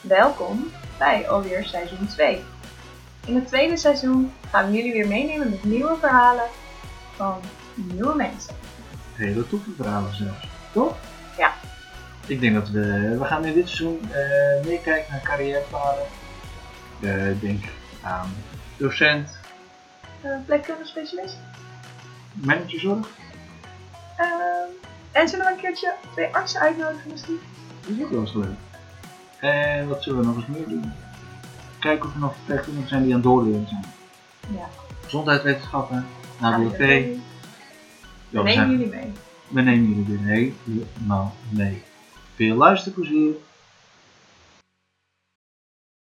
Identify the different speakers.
Speaker 1: Welkom bij alweer seizoen 2. In het tweede seizoen gaan we jullie weer meenemen met nieuwe verhalen van nieuwe mensen.
Speaker 2: Hele toeverhalen zelfs, toch?
Speaker 1: Ja.
Speaker 2: Ik denk dat we, we gaan in dit seizoen eh, meer kijken naar carrièrepaden. Eh, denk aan docent,
Speaker 1: Eh plekkundig specialist.
Speaker 2: managerzorg.
Speaker 1: Ehm, en zullen we een keertje twee artsen uitnodigen misschien?
Speaker 2: Dat is ook wel eens leuk. En wat zullen we nog eens meer doen? Kijken of er nog verpleegkundigen zijn die aan het doorleren zijn.
Speaker 1: Ja.
Speaker 2: Gezondheidswetenschappen, HBOV.
Speaker 1: We
Speaker 2: Ja, we,
Speaker 1: Neem
Speaker 2: zijn-
Speaker 1: jullie mee.
Speaker 2: we nemen jullie weer helemaal mee. Veel luisterplezier